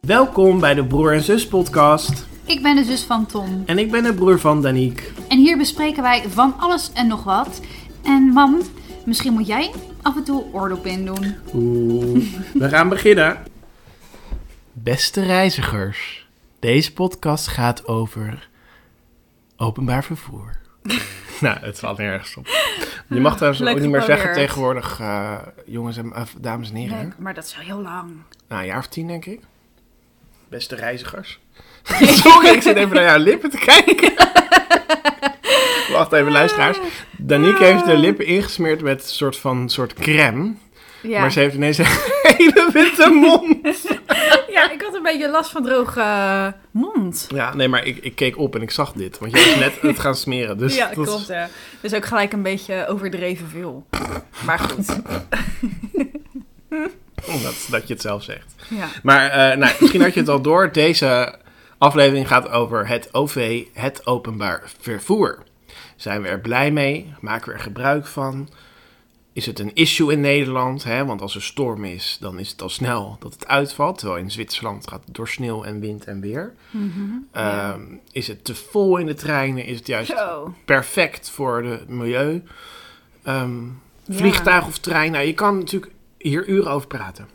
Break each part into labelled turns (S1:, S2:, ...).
S1: Welkom bij de Broer en Zus podcast.
S2: Ik ben de zus van Tom
S1: En ik ben de broer van Daniek.
S2: en hier bespreken wij van alles en nog wat. En mam, misschien moet jij af en toe oordop in doen.
S1: Oeh, we gaan beginnen.
S3: Beste reizigers, deze podcast gaat over openbaar vervoer. nou, het valt nergens op. Je mag trouwens ook
S4: Leuk
S3: niet meer zeggen
S4: geprobeerd.
S3: tegenwoordig, eh, jongens en eh, dames en heren. hè?
S4: maar dat is al heel lang.
S3: Nou, een jaar of tien, denk ik. Beste reizigers. Sorry, ik zit even naar jouw lippen te kijken. Wacht even, luisteraars. Danique heeft de lippen ingesmeerd met een soort van soort crème.
S4: Ja.
S3: Maar ze heeft ineens een hele witte mond.
S4: ja, ik had een beetje last van droge eh, mond.
S3: Ja, nee, maar ik, ik keek op en ik zag dit. Want jij was net het gaan smeren. Dus
S4: ja,
S3: dat is-
S4: klopt hè. Dus ook gelijk een beetje overdreven veel. Maar goed.
S3: Omdat, dat je het zelf zegt.
S4: Ja.
S3: Maar eh, nou, misschien had je het al door. Deze aflevering gaat over het OV, het openbaar vervoer. Zijn we er blij mee? Maken we er gebruik van? Is het een issue in Nederland? Hè? Want als er storm is, dan is het al snel dat het uitvalt. Terwijl in Zwitserland gaat het door sneeuw en wind en weer.
S4: Mhm,
S3: Ehm, Is het te vol in de treinen? Is het juist
S4: Zo.
S3: perfect voor het milieu? Ehm,
S4: Ja.
S3: vliegtuig of trein? Nou, je kan natuurlijk hier uren over praten.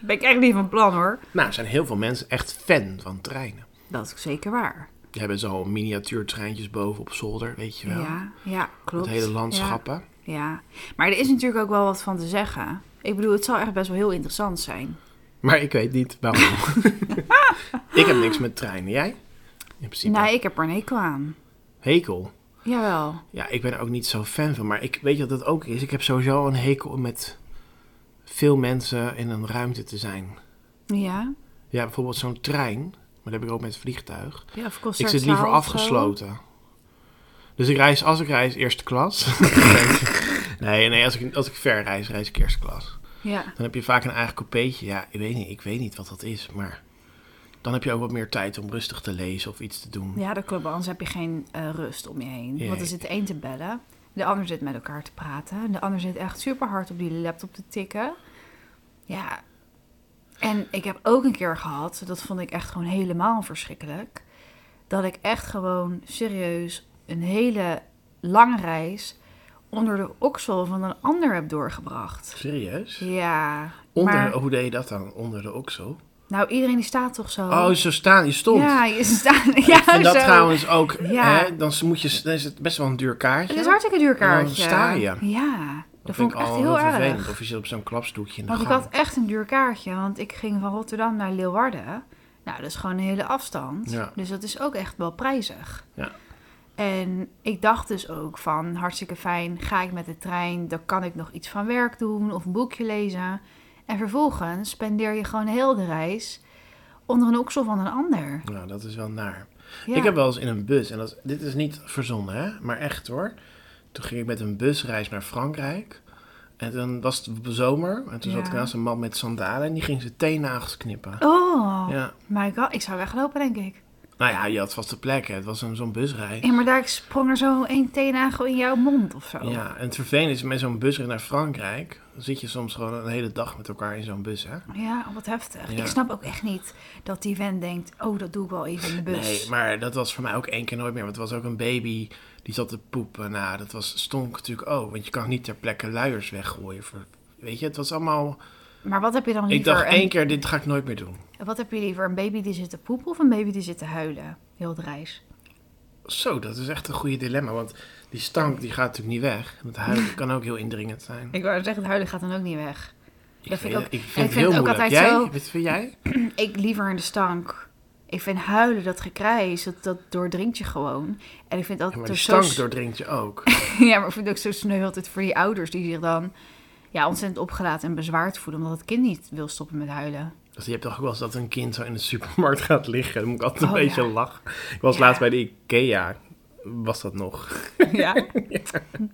S4: Ben ik echt niet van plan hoor.
S3: Nou, er zijn heel veel mensen echt fan van treinen.
S4: Dat is zeker waar.
S3: Die hebben zo'n miniatuurtreintjes boven op zolder, weet je wel.
S4: Ja, ja klopt.
S3: Met hele landschappen.
S4: Ja, ja. Maar er is natuurlijk ook wel wat van te zeggen. Ik bedoel, het zal echt best wel heel interessant zijn.
S3: Maar ik weet niet waarom. ik heb niks met treinen. Jij? In principe.
S4: Nee, ik heb er een hekel aan.
S3: Hekel.
S4: Jawel.
S3: Ja, ik ben er ook niet zo fan van. Maar ik weet je wat dat ook is? Ik heb sowieso een hekel om met veel mensen in een ruimte te zijn.
S4: Ja.
S3: Ja, bijvoorbeeld zo'n trein. Maar dat heb ik ook met het vliegtuig.
S4: ja of concert
S3: Ik zit liever afgesloten. Dus ik reis, als ik reis, eerste klas. nee, nee als, ik, als ik ver reis, reis ik eerste klas.
S4: Ja.
S3: Dan heb je vaak een eigen coupeetje. Ja, ik weet niet, ik weet niet wat dat is, maar... Dan heb je ook wat meer tijd om rustig te lezen of iets te doen.
S4: Ja, dat klopt. Anders heb je geen eh, rust om je heen.
S3: Nee.
S4: Want er zit de een te bellen. De ander zit met elkaar te praten. De ander zit echt super hard op die laptop te tikken. Ja. En ik heb ook een keer gehad, dat vond ik echt gewoon helemaal verschrikkelijk. Dat ik echt gewoon serieus een hele lange reis onder de oksel van een ander heb doorgebracht.
S3: Serieus?
S4: Ja.
S3: Onder,
S4: maar-
S3: Hoe deed je dat dan? Onder de oksel?
S4: nou, iedereen die staat toch zo.
S3: Oh, zo staan, je stond.
S4: Ja, je staat. Ja,
S3: en dat
S4: zo.
S3: trouwens ook,
S4: Ja.
S3: hè, dan, moet je, dan is het best wel een duur kaartje.
S4: Het is hartstikke duur
S3: dan
S4: kaartje.
S3: sta je.
S4: Ja, dat,
S3: Dat
S4: vond ik echt
S3: al
S4: heel
S3: vervelend.
S4: erg.
S3: Of je zit op zo'n klapstoeltje in de
S4: Want ik
S3: gang.
S4: had echt een duur kaartje, want ik ging van Rotterdam naar Leeuwarden. Nou, dat is gewoon een hele afstand.
S3: Ja.
S4: Dus dat is ook echt wel prijzig.
S3: Ja.
S4: En ik dacht dus ook van, hartstikke fijn, ga ik met de trein, dan kan ik nog iets van werk doen of een boekje lezen. En vervolgens spendeer je gewoon heel de reis onder een oksel van een ander.
S3: Nou, dat is wel naar.
S4: Ja.
S3: Ik heb wel eens in een bus, en dat, is- dit is niet verzonnen, hè? maar echt hoor. Toen ging ik met een busreis naar Frankrijk. En toen was het zomer. En toen zat ik
S4: Ja.
S3: naast een man met sandalen en die ging zijn teennagels knippen.
S4: Oh,
S3: Ja.
S4: my god, ik zou weglopen denk ik.
S3: Nou ja, je had vaste plekken. Het was een- zo'n busreis.
S4: Ja, maar daar sprong er zo één teennagel in jouw mond of zo.
S3: Ja, en het vervelende is met zo'n busreis naar Frankrijk. Dan zit je soms gewoon een hele dag met elkaar in zo'n bus, hè?
S4: Ja, wat heftig.
S3: Ja.
S4: Ik snap ook echt niet dat die vent denkt, oh, dat doe ik wel even in de bus.
S3: Nee, maar dat was voor mij ook één keer nooit meer. Want het was ook een baby die zat te poepen. Nou, dat was, stonk natuurlijk ook. Want je kan niet ter plekke luiers weggooien. Voor, weet je, het was allemaal...
S4: Maar wat heb je dan
S3: Ik
S4: liever?
S3: dacht
S4: een-
S3: één keer, dit ga ik nooit meer doen.
S4: Wat heb je liever, een baby die zit te poepen of een baby die zit te huilen? Heel de reis.
S3: Zo, dat is echt een goede dilemma. Want die stank, die gaat natuurlijk niet weg. En het huilen kan ook heel indringend zijn.
S4: Ik wou zeggen, het huilen gaat dan ook niet weg. Dat vind ik ook-
S3: ik
S4: en ik
S3: vind
S4: vind
S3: het heel
S4: het ook
S3: moeilijk.
S4: altijd
S3: jij?
S4: zo-
S3: Wat vind jij?
S4: Ik liever in de stank. Ik vind huilen, dat gekrijs, dat, dat doordringt je gewoon. En ik vind dat
S3: Ja, maar
S4: zo
S3: die stank
S4: s-
S3: doordringt je ook.
S4: Ja, maar ik vind het ook zo sneu altijd voor die ouders die zich dan ja, ontzettend opgelaten en bezwaard voelen. Omdat het kind niet wil stoppen met huilen.
S3: Dus je hebt toch ook wel eens dat een kind zo in de supermarkt gaat liggen. Dan moet ik altijd een
S4: Oh,
S3: beetje
S4: ja.
S3: lachen. Ik was
S4: Ja.
S3: laatst bij de Ikea. Was dat nog?
S4: Ja?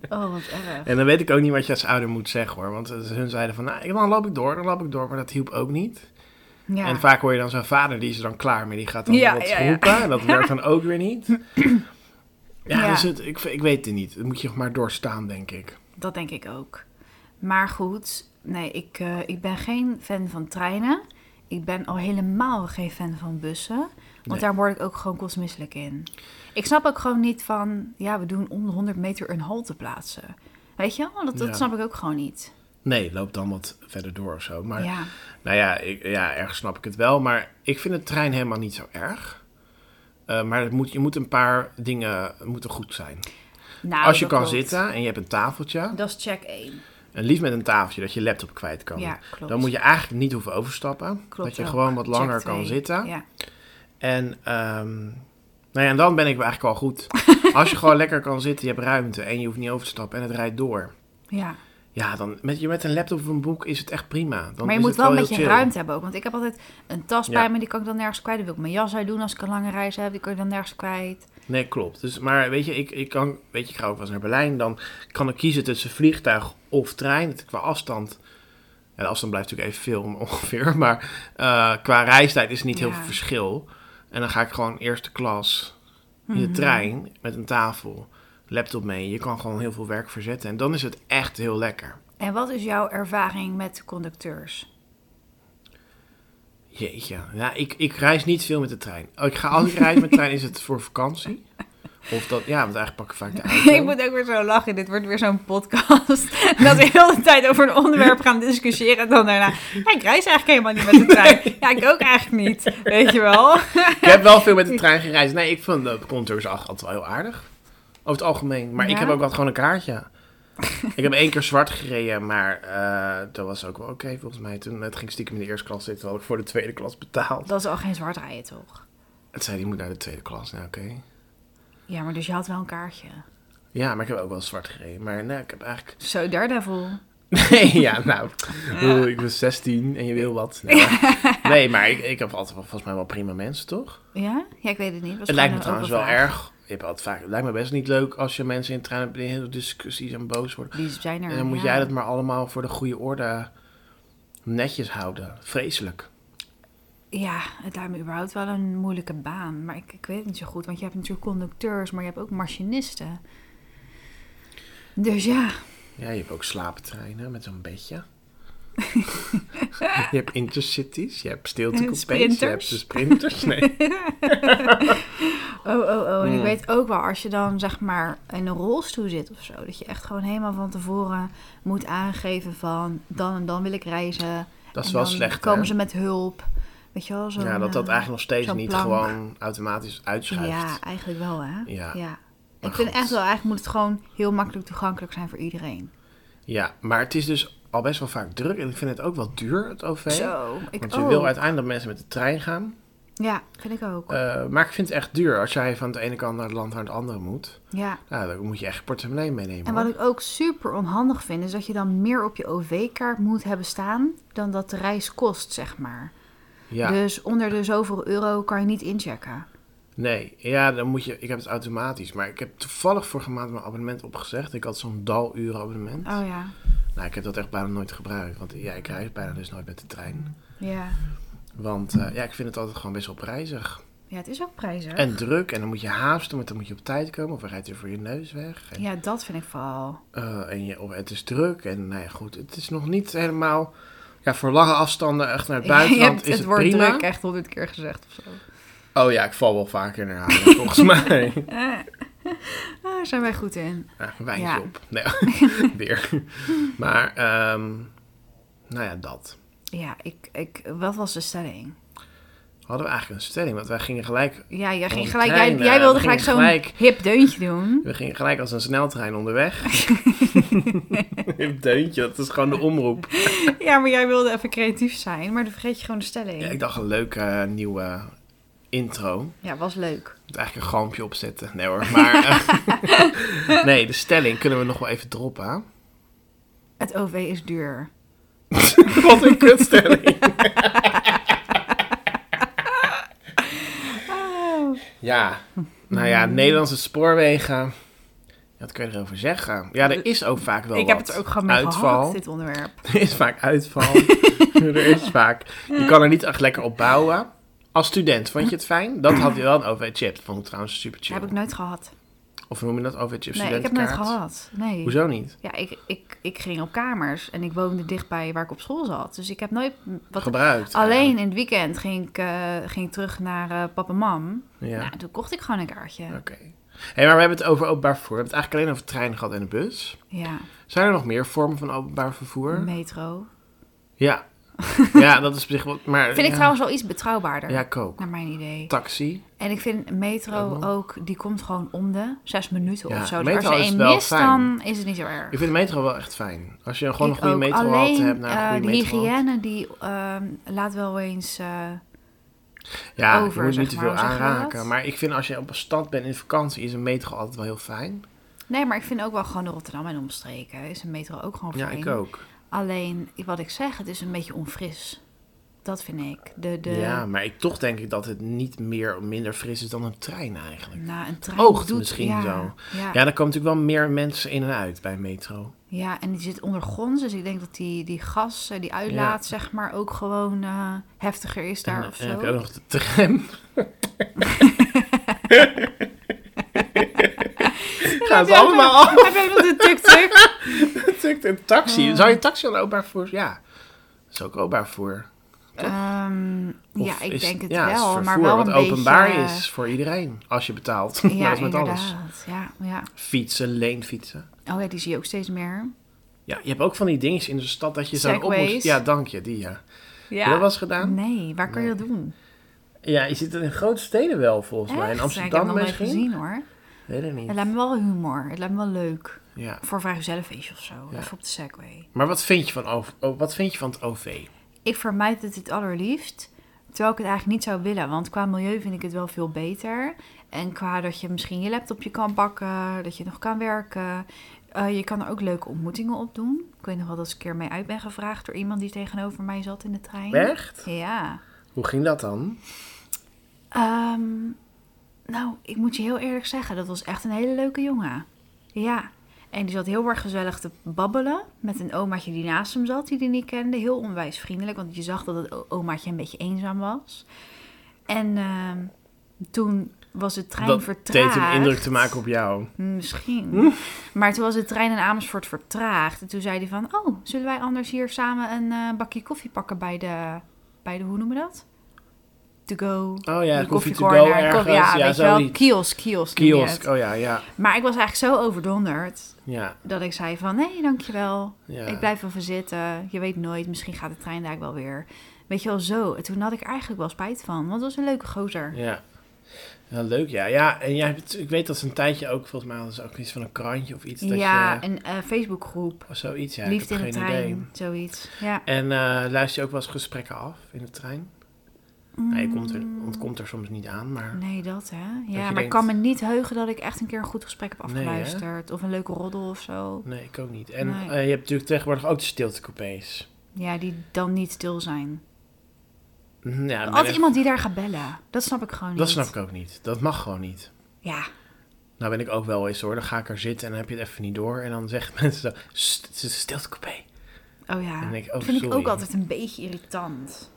S4: Oh, wat erg.
S3: En dan weet ik ook niet wat je als ouder moet zeggen hoor. Want eh, hun zeiden van, nou, dan loop ik door, dan loop ik door. Maar dat hielp ook niet.
S4: Ja.
S3: En vaak hoor je dan zo'n vader, die is er dan klaar mee. Die gaat dan
S4: Ja,
S3: wat
S4: ja, ja.
S3: roepen. En dat werkt dan ook weer niet. Ja,
S4: Ja.
S3: dus het, ik, ik weet het niet. Dat moet je maar doorstaan, denk ik.
S4: Dat denk ik ook. Maar goed, nee, ik, eh, ik ben geen fan van treinen. Ik ben al helemaal geen fan van bussen. Want
S3: Nee.
S4: daar word ik ook gewoon kostmisselijk in. Ik snap ook gewoon niet van, ja, we doen om de 100 meter een halte plaatsen. Weet je wel? Dat, dat
S3: Ja.
S4: snap ik ook gewoon niet.
S3: Nee, loopt dan wat verder door of zo. Maar
S4: Ja.
S3: Nou ja, ik, ja, ergens snap ik het wel. Maar ik vind het trein helemaal niet zo erg. Eh, maar het moet, je moet een paar dingen moeten goed zijn.
S4: Nou,
S3: Als je
S4: dat
S3: kan
S4: klopt.
S3: zitten en je hebt een tafeltje.
S4: Dat is check 1.
S3: En liefst met een tafeltje, dat je laptop kwijt kan.
S4: Ja, klopt.
S3: Dan moet je eigenlijk niet hoeven overstappen.
S4: Klopt
S3: dat je
S4: ook.
S3: gewoon wat
S4: Check
S3: langer kan
S4: twee.
S3: zitten.
S4: Ja.
S3: En, ehm, nou ja, en dan ben ik eigenlijk al goed. Als je gewoon lekker kan zitten, je hebt ruimte en je hoeft niet over te stappen en het rijdt door.
S4: ja.
S3: Ja, dan met, je- met een laptop of een boek is het echt prima. Dan
S4: maar je
S3: is het
S4: moet wel een
S3: heel
S4: beetje
S3: chill.
S4: ruimte hebben ook. Want ik heb altijd een tas bij
S3: Ja.
S4: me, die kan ik dan nergens kwijt. Dan wil ik mijn jas uit doen als ik een lange reis heb. Die kan ik dan nergens kwijt.
S3: Nee, klopt. Dus, maar weet je, ik, ik kan, weet je, ik ga ook wel eens naar Berlijn. Dan kan ik kiezen tussen vliegtuig of trein. Het- Qua afstand. Ja, de afstand blijft natuurlijk even veel ongeveer. Maar eh, qua reistijd is niet heel
S4: Ja.
S3: veel verschil. En dan ga ik gewoon eerste klas in
S4: Mhm.
S3: de trein met een tafel, laptop mee. Je kan gewoon heel veel werk verzetten. En dan is het echt heel lekker.
S4: En wat is jouw ervaring met conducteurs?
S3: Jeetje. Ja, ik, ik reis niet veel met de trein. Oh, ik ga als ik reis met de trein, is het voor vakantie. Of dat, ja, want eigenlijk pak ik vaak de auto.
S4: Ik moet ook weer zo lachen. Dit wordt weer zo'n podcast. Dat we heel de tijd over een onderwerp gaan discussiëren. En dan daarna. Ja, ik reis eigenlijk helemaal niet met de trein. Ja, ik ook eigenlijk niet. Weet je wel?
S3: Ik heb wel veel met de trein gereisd. Nee, ik vond de contours altijd wel heel aardig. Over het algemeen. Maar
S4: Ja?
S3: ik heb ook wel gewoon een kaartje. ik heb één keer zwart gereden, maar eh, dat was ook wel oké volgens mij. Toen het ging stiekem in de eerste klas zitten, terwijl ik voor de tweede klas betaald.
S4: Dat is al geen zwart rijden, toch?
S3: Het zei, die moet naar de tweede klas. Nou, oké.
S4: Ja, maar dus je had wel een kaartje.
S3: Ja, maar ik heb ook wel zwart gereden. Maar nee, ik heb eigenlijk...
S4: Zo, Daredevil.
S3: Nee, ja, nou. oeh, ik was 16 en je wil wat. Nee, maar, nee, maar ik, ik heb altijd wel, volgens mij wel prima mensen, toch?
S4: Ja? Ja, ik weet het niet. Was
S3: Het lijkt me
S4: gewoon een
S3: trouwens wel
S4: open vraag.
S3: erg. Je hebt altijd vaak, het lijkt me best niet leuk als je mensen in de trein hebt die hele discussies en boos worden.
S4: Die zijn er.
S3: En dan moet
S4: ja.
S3: jij dat maar allemaal voor de goede orde netjes houden. Vreselijk.
S4: Ja, het lijkt me überhaupt wel een moeilijke baan. Maar ik, ik weet het niet zo goed. Want je hebt natuurlijk conducteurs, maar je hebt ook machinisten. Dus ja,
S3: Ja, je hebt ook slaaptreinen met zo'n bedje. je hebt intercities, je hebt stiltecoupés, je hebt
S4: Sprinters.
S3: de sprinters. Nee.
S4: oh, oh, oh. En ik
S3: Mm.
S4: weet ook wel, als je dan zeg maar in een rolstoel zit of zo... dat je echt gewoon helemaal van tevoren moet aangeven van... dan en dan wil ik reizen.
S3: Dat is
S4: En
S3: wel
S4: dan
S3: slecht,
S4: komen
S3: hè?
S4: ze met hulp. Weet je wel, zo'n...
S3: Ja, dat dat
S4: eh,
S3: eigenlijk nog steeds
S4: zo'n
S3: niet
S4: plank.
S3: gewoon automatisch uitschuift.
S4: Ja, eigenlijk wel, hè?
S3: Ja. Maar
S4: Ik vind
S3: goed.
S4: echt wel, eigenlijk moet het gewoon heel makkelijk toegankelijk zijn voor iedereen.
S3: Ja, maar het is dus al best wel vaak druk. En ik vind het ook wel duur, het OV.
S4: Zo, ik
S3: Want je
S4: ook.
S3: wil uiteindelijk dat mensen met de trein gaan.
S4: Ja, vind ik ook.
S3: Eh, maar ik vind het echt duur als jij van het ene kant naar het land naar het andere moet.
S4: ja.
S3: Nou, dan moet je echt je portemonnee meenemen.
S4: En wat
S3: hoor.
S4: ik ook super onhandig vind, is dat je dan meer op je OV-kaart moet hebben staan dan dat de reis kost, zeg maar.
S3: Ja,
S4: Dus onder de zoveel euro kan je niet inchecken.
S3: nee. Ja, dan moet je... Ik heb het automatisch. Maar ik heb toevallig vorige maand mijn abonnement opgezegd. Ik had zo'n daluren abonnement.
S4: Oh ja,
S3: Nou, ik heb dat echt bijna nooit gebruikt. Want ja, ik reis bijna dus nooit met de trein.
S4: ja.
S3: Want eh, ja, ik vind het altijd gewoon best wel prijzig.
S4: Ja, het is ook prijzig.
S3: En druk. En dan moet je haasten, want dan moet je op tijd komen. Of hij rijdt weer voor je neus weg. En,
S4: Ja, dat vind ik vooral.
S3: eh, en je, of het is druk. En nou ja, goed. Het is nog niet helemaal... Ja, voor lange afstanden echt naar het
S4: Je
S3: buitenland
S4: hebt
S3: is
S4: het
S3: het
S4: woord
S3: prima.
S4: druk echt honderd keer gezegd of zo.
S3: Oh ja, ik val wel vaker naar halen, volgens mij.
S4: Ah, Daar zijn wij goed in.
S3: Ah, wijntje
S4: Ja.
S3: op. Nee, weer. Maar, ehm, nou ja, dat.
S4: Ja, ik, ik, wat was de stelling?
S3: Hadden we eigenlijk een stelling, want wij gingen gelijk...
S4: Ja, jij, ging
S3: Onze
S4: gelijk, jij,
S3: trein,
S4: jij
S3: eh,
S4: wilde
S3: we
S4: gelijk
S3: gingen
S4: zo'n
S3: gelijk-
S4: hip deuntje doen.
S3: We gingen gelijk als een sneltrein onderweg. Een deuntje, dat is gewoon de omroep.
S4: Ja, maar jij wilde even creatief zijn, maar dan vergeet je gewoon de stelling.
S3: Ja, ik dacht een leuke eh, nieuwe intro.
S4: ja was leuk.
S3: Moet eigenlijk een galmpje opzetten. Nee hoor, maar... eh, nee, de stelling kunnen we nog wel even droppen. hè?
S4: Het OV is duur.
S3: Wat een kutstelling. ja, nou ja, Nederlandse spoorwegen. Wat kun je erover zeggen? Ja, er is ook vaak wel
S4: ik
S3: wat.
S4: heb het ook gewoon mee
S3: Uitval.
S4: gehad, dit onderwerp.
S3: Er is vaak uitval. er is vaak... Je kan er niet echt lekker op bouwen. Als student vond je het fijn? Dat had je wel een OV-chip. Vond ik trouwens super chill.
S4: Heb ik nooit gehad.
S3: Of Of noem je dat OV-chip
S4: Nee, ik heb
S3: studentkaart?
S4: nooit gehad. Nee.
S3: Hoezo niet?
S4: Ja, ik, ik, ik ging op kamers en ik woonde dichtbij waar ik op school zat. Dus ik heb nooit... Wat,
S3: Gebruikt.
S4: alleen in het weekend ging ik, eh, ging ik terug naar eh, papa en mam.
S3: Ja,
S4: Nou, toen kocht ik gewoon een kaartje.
S3: oké. Hey, maar we hebben het over openbaar vervoer. We hebben het eigenlijk alleen over treinen gehad en de bus.
S4: Ja,
S3: Zijn er nog meer vormen van openbaar vervoer?
S4: metro.
S3: Ja. ja, dat is op zich wat... Maar,
S4: Vind
S3: ja.
S4: ik trouwens wel iets betrouwbaarder,
S3: Ja, ik ook.
S4: naar mijn idee.
S3: Taxi.
S4: En ik vind metro ook, die komt gewoon om de zes minuten
S3: Ja,
S4: of zo. Dus
S3: metro
S4: als je
S3: is
S4: één
S3: wel
S4: mist,
S3: fijn.
S4: dan is het niet zo erg.
S3: Ik vind de metro wel echt fijn. Als je gewoon
S4: Ik
S3: een goede
S4: ook.
S3: metro
S4: Alleen,
S3: hebt, naar nou een
S4: eh,
S3: goede
S4: de
S3: metro
S4: hygiëne die ehm, laat wel eens... eh,
S3: Ja,
S4: over,
S3: je moet
S4: zeg
S3: niet te
S4: maar.
S3: veel
S4: Hoe zeg je dat?
S3: aanraken. Maar ik vind als je op een stad bent in vakantie, is een metro altijd wel heel fijn.
S4: Nee, maar ik vind ook wel gewoon in Rotterdam en omstreken is een metro ook gewoon
S3: Ja,
S4: fijn.
S3: ik ook.
S4: Alleen, wat ik zeg, het is een beetje onfris. Dat vind ik. De, de,
S3: Ja, maar ik, toch denk ik dat het niet meer of minder fris is dan een trein eigenlijk.
S4: na een trein
S3: Oogt
S4: doet,
S3: misschien
S4: ja,
S3: zo. Ja,
S4: Ja, ja.
S3: er komen natuurlijk wel meer mensen in en uit bij metro.
S4: en die zit ondergronds. Dus ik denk dat die, die gas, eh, die uitlaat, zeg maar, ook gewoon eh, heftiger is daar
S3: en,
S4: of
S3: en
S4: zo.
S3: heb je ook nog de tram. Gaan ze
S4: Heb je ook
S3: allemaal
S4: nog-
S3: af?
S4: Heb je ook nog de tuk-tuk?
S3: Een
S4: Oh.
S3: taxi. Zou je taxi al openbaar vervoer? Ja, dat is ook openbaar vervoer.
S4: Ehm,
S3: Of
S4: ja, ik
S3: is-
S4: denk het
S3: ja, is
S4: wel. maar
S3: vervoer
S4: wel
S3: wat
S4: een
S3: openbaar
S4: beetje, eh,
S3: is voor iedereen. Als je betaalt.
S4: Ja,
S3: dat is met
S4: inderdaad.
S3: alles.
S4: Ja, ja.
S3: Fietsen, leenfietsen.
S4: Oh ja, die zie je ook steeds meer.
S3: Ja, je hebt ook van die dingetjes in de stad dat je zo op moet...
S4: Segways.
S3: Ja, dank je, die ja. Heb je dat wel eens gedaan?
S4: Nee, waar kun je dat doen?
S3: Ja, je ziet het in grote steden wel volgens mij. In
S4: Echt?
S3: Amsterdam
S4: ik heb het nog
S3: misschien?
S4: nooit gezien hoor.
S3: Weet ik
S4: Het
S3: niet.
S4: lijkt me wel humor. Het lijkt me wel leuk.
S3: Ja.
S4: Voor vrijgezellenfeestje of zo.
S3: Ja.
S4: Even op de Segway.
S3: Maar wat vind, je van over, oh, wat vind je van het OV?
S4: Ik vermijd het het allerliefst. Terwijl ik het eigenlijk niet zou willen. Want qua milieu vind ik het wel veel beter. En qua dat je misschien je laptopje kan pakken. Dat je nog kan werken. Eh, je kan er ook leuke ontmoetingen op doen. Ik weet nog wel dat ik een keer mee uit ben gevraagd door iemand die tegenover mij zat in de trein.
S3: Echt?
S4: Ja.
S3: Hoe ging dat dan?
S4: Ehm, nou, ik moet je heel eerlijk zeggen, dat was echt een hele leuke jongen. Ja. En die zat heel erg gezellig te babbelen met een omaatje die naast hem zat, die hij niet kende. Heel onwijs vriendelijk, want je zag dat het o- omaatje een beetje eenzaam was. En ehm, toen was de trein
S3: dat
S4: vertraagd.
S3: deed een indruk te maken op Hm? jou.
S4: Misschien. Maar toen was de trein in Amersfoort vertraagd. En toen zei hij van, oh, zullen wij anders hier samen een eh, bakje koffie pakken bij de, bij de, hoe noemen we dat? To go.
S3: Oh ja,
S4: De
S3: koffie to
S4: koffiecorner,
S3: go ergens.
S4: koffie-
S3: Ja,
S4: ja, weet je wel,
S3: zoiets.
S4: kiosk, kiosk. noem je
S3: Kiosk,
S4: het.
S3: oh ja, ja.
S4: Maar ik was eigenlijk zo overdonderd
S3: Ja,
S4: dat ik zei van, nee, dankjewel.
S3: ja.
S4: Ik blijf even zitten. Je weet nooit, misschien gaat de trein daar wel weer. Weet je wel, zo. En toen had ik er eigenlijk wel spijt van, want het was een leuke gozer.
S3: Ja. Ja, leuk ja. Ja, en jij hebt, ik weet dat ze een tijdje ook, volgens mij hadden ze ook iets van een krantje of iets.
S4: Ja,
S3: Dat je,
S4: een eh, Facebookgroep.
S3: of zoiets, ja.
S4: Liefde
S3: ik
S4: in
S3: heb
S4: de
S3: geen
S4: trein,
S3: idee.
S4: zoiets. Ja.
S3: En eh, luister je ook wel eens gesprekken af in de trein? Nee, je komt er,
S4: Mm.
S3: ontkomt er soms niet aan, maar...
S4: Nee, dat hè. Ja, maar
S3: denkt-
S4: ik kan me niet heugen dat ik echt een keer een goed gesprek heb
S3: Nee, hè?
S4: afgeluisterd. of een leuke roddel of zo.
S3: Nee, ik ook niet. En
S4: Nee.
S3: eh, je hebt natuurlijk tegenwoordig ook de stiltecoupés.
S4: Ja, die dan niet stil zijn.
S3: Mhm, Ja,
S4: Altijd
S3: ben ik-
S4: iemand die daar gaat bellen. Dat snap ik gewoon niet.
S3: Dat snap ik ook niet. Dat mag gewoon niet.
S4: Ja.
S3: Nou ben ik ook wel eens hoor. Dan ga ik er zitten en dan heb je het even niet door. En dan zeggen mensen zo, "Sst, het is een stiltecoupé.
S4: Oh ja.
S3: Dan denk ik, oh,
S4: dat vind ik
S3: sorry.
S4: ook altijd een beetje irritant.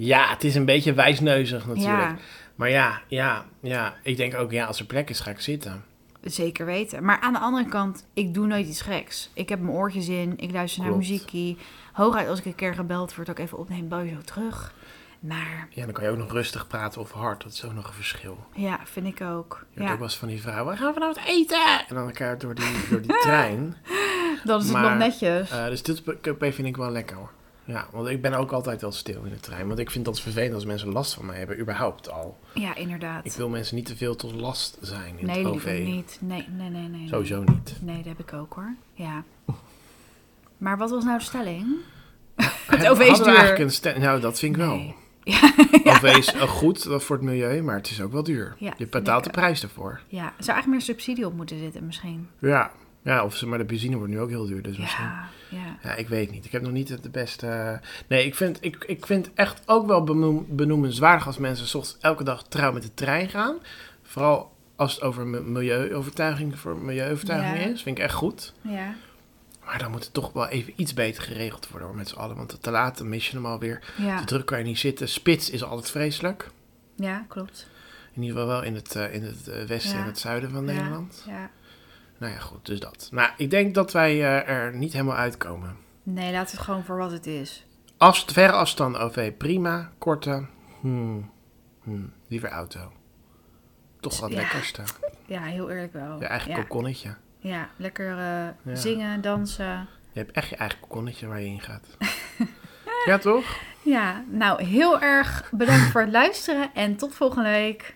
S3: Ja, het is een beetje wijsneuzig natuurlijk.
S4: Ja,
S3: Maar ja, ja, ja. Ik denk ook, ja, als er plek is, ga ik zitten.
S4: zeker weten. Maar aan de andere kant, ik doe nooit iets geks. Ik heb mijn oortjes in. Ik luister naar
S3: Klopt.
S4: muziekie. Hooguit als ik een keer gebeld word, dat ik even opneem, bel je zo terug. Maar
S3: Ja, dan kan je ook nog rustig praten of hard. Dat is ook nog een verschil.
S4: ja, vind ik ook.
S3: Je hebt
S4: Ja.
S3: ook wel eens van die vrouwen, gaan we nou wat eten? En dan elkaar door die, door die trein.
S4: Dan is het
S3: maar-
S4: nog netjes.
S3: Eh de stiltecoupé vind ik wel lekker hoor. Ja, want ik ben ook altijd wel stil in de trein. Want ik vind dat vervelend als mensen last van mij hebben, überhaupt al.
S4: Ja, inderdaad.
S3: Ik wil mensen niet te veel tot last zijn in
S4: Nee,
S3: het
S4: liever
S3: OV.
S4: niet. Nee, nee, nee, nee.
S3: Sowieso niet.
S4: Nee, dat heb ik ook hoor. Ja. Maar wat was nou de stelling?
S3: Het
S4: OV is duur.
S3: Eigenlijk een stem- nou, dat vind ik wel.
S4: Nee.
S3: OV is eh, goed eh, voor het milieu, maar het is ook wel duur.
S4: Ja,
S3: je
S4: vind
S3: betaalt de
S4: ik,
S3: prijs ervoor.
S4: Ja, er zou eigenlijk meer subsidie op moeten zitten misschien.
S3: Ja. ja, of ze, maar de benzine wordt nu ook heel duur, dus misschien.
S4: Ja, ja.
S3: Ja, ik weet niet. Ik heb nog niet het de beste. Nee, ik vind, ik, ik vind echt ook wel benoem, benoemenswaardig als mensen 's ochtends elke dag trouw met de trein gaan. Vooral als het over mi- milieuovertuiging voor milieuovertuiging
S4: Ja.
S3: is. Vind ik echt goed.
S4: Ja,
S3: Maar dan moet het toch wel even iets beter geregeld worden hoor, met z'n allen. Want te laat, dan mis je hem alweer.
S4: ja.
S3: Te druk kan je niet zitten. Spits is altijd vreselijk.
S4: ja klopt.
S3: In In ieder geval wel in het, eh, in het eh, westen
S4: Ja.
S3: en het zuiden van
S4: Ja,
S3: Nederland.
S4: Ja.
S3: Nou ja, goed, dus dat. Nou, ik denk dat wij eh, er niet helemaal uitkomen.
S4: Nee, laat het gewoon voor wat het is.
S3: Af, verre afstand OV, prima. Korte, hmm, hmm, liever auto. Toch wat
S4: Ja.
S3: lekkerste.
S4: Ja, heel eerlijk wel.
S3: Je eigen
S4: ja.
S3: kokonnetje.
S4: Ja, lekker eh,
S3: Ja.
S4: zingen, dansen.
S3: Je hebt echt je eigen kokonnetje waar je in gaat. ja, toch?
S4: Ja, nou heel erg bedankt voor het luisteren en tot volgende week.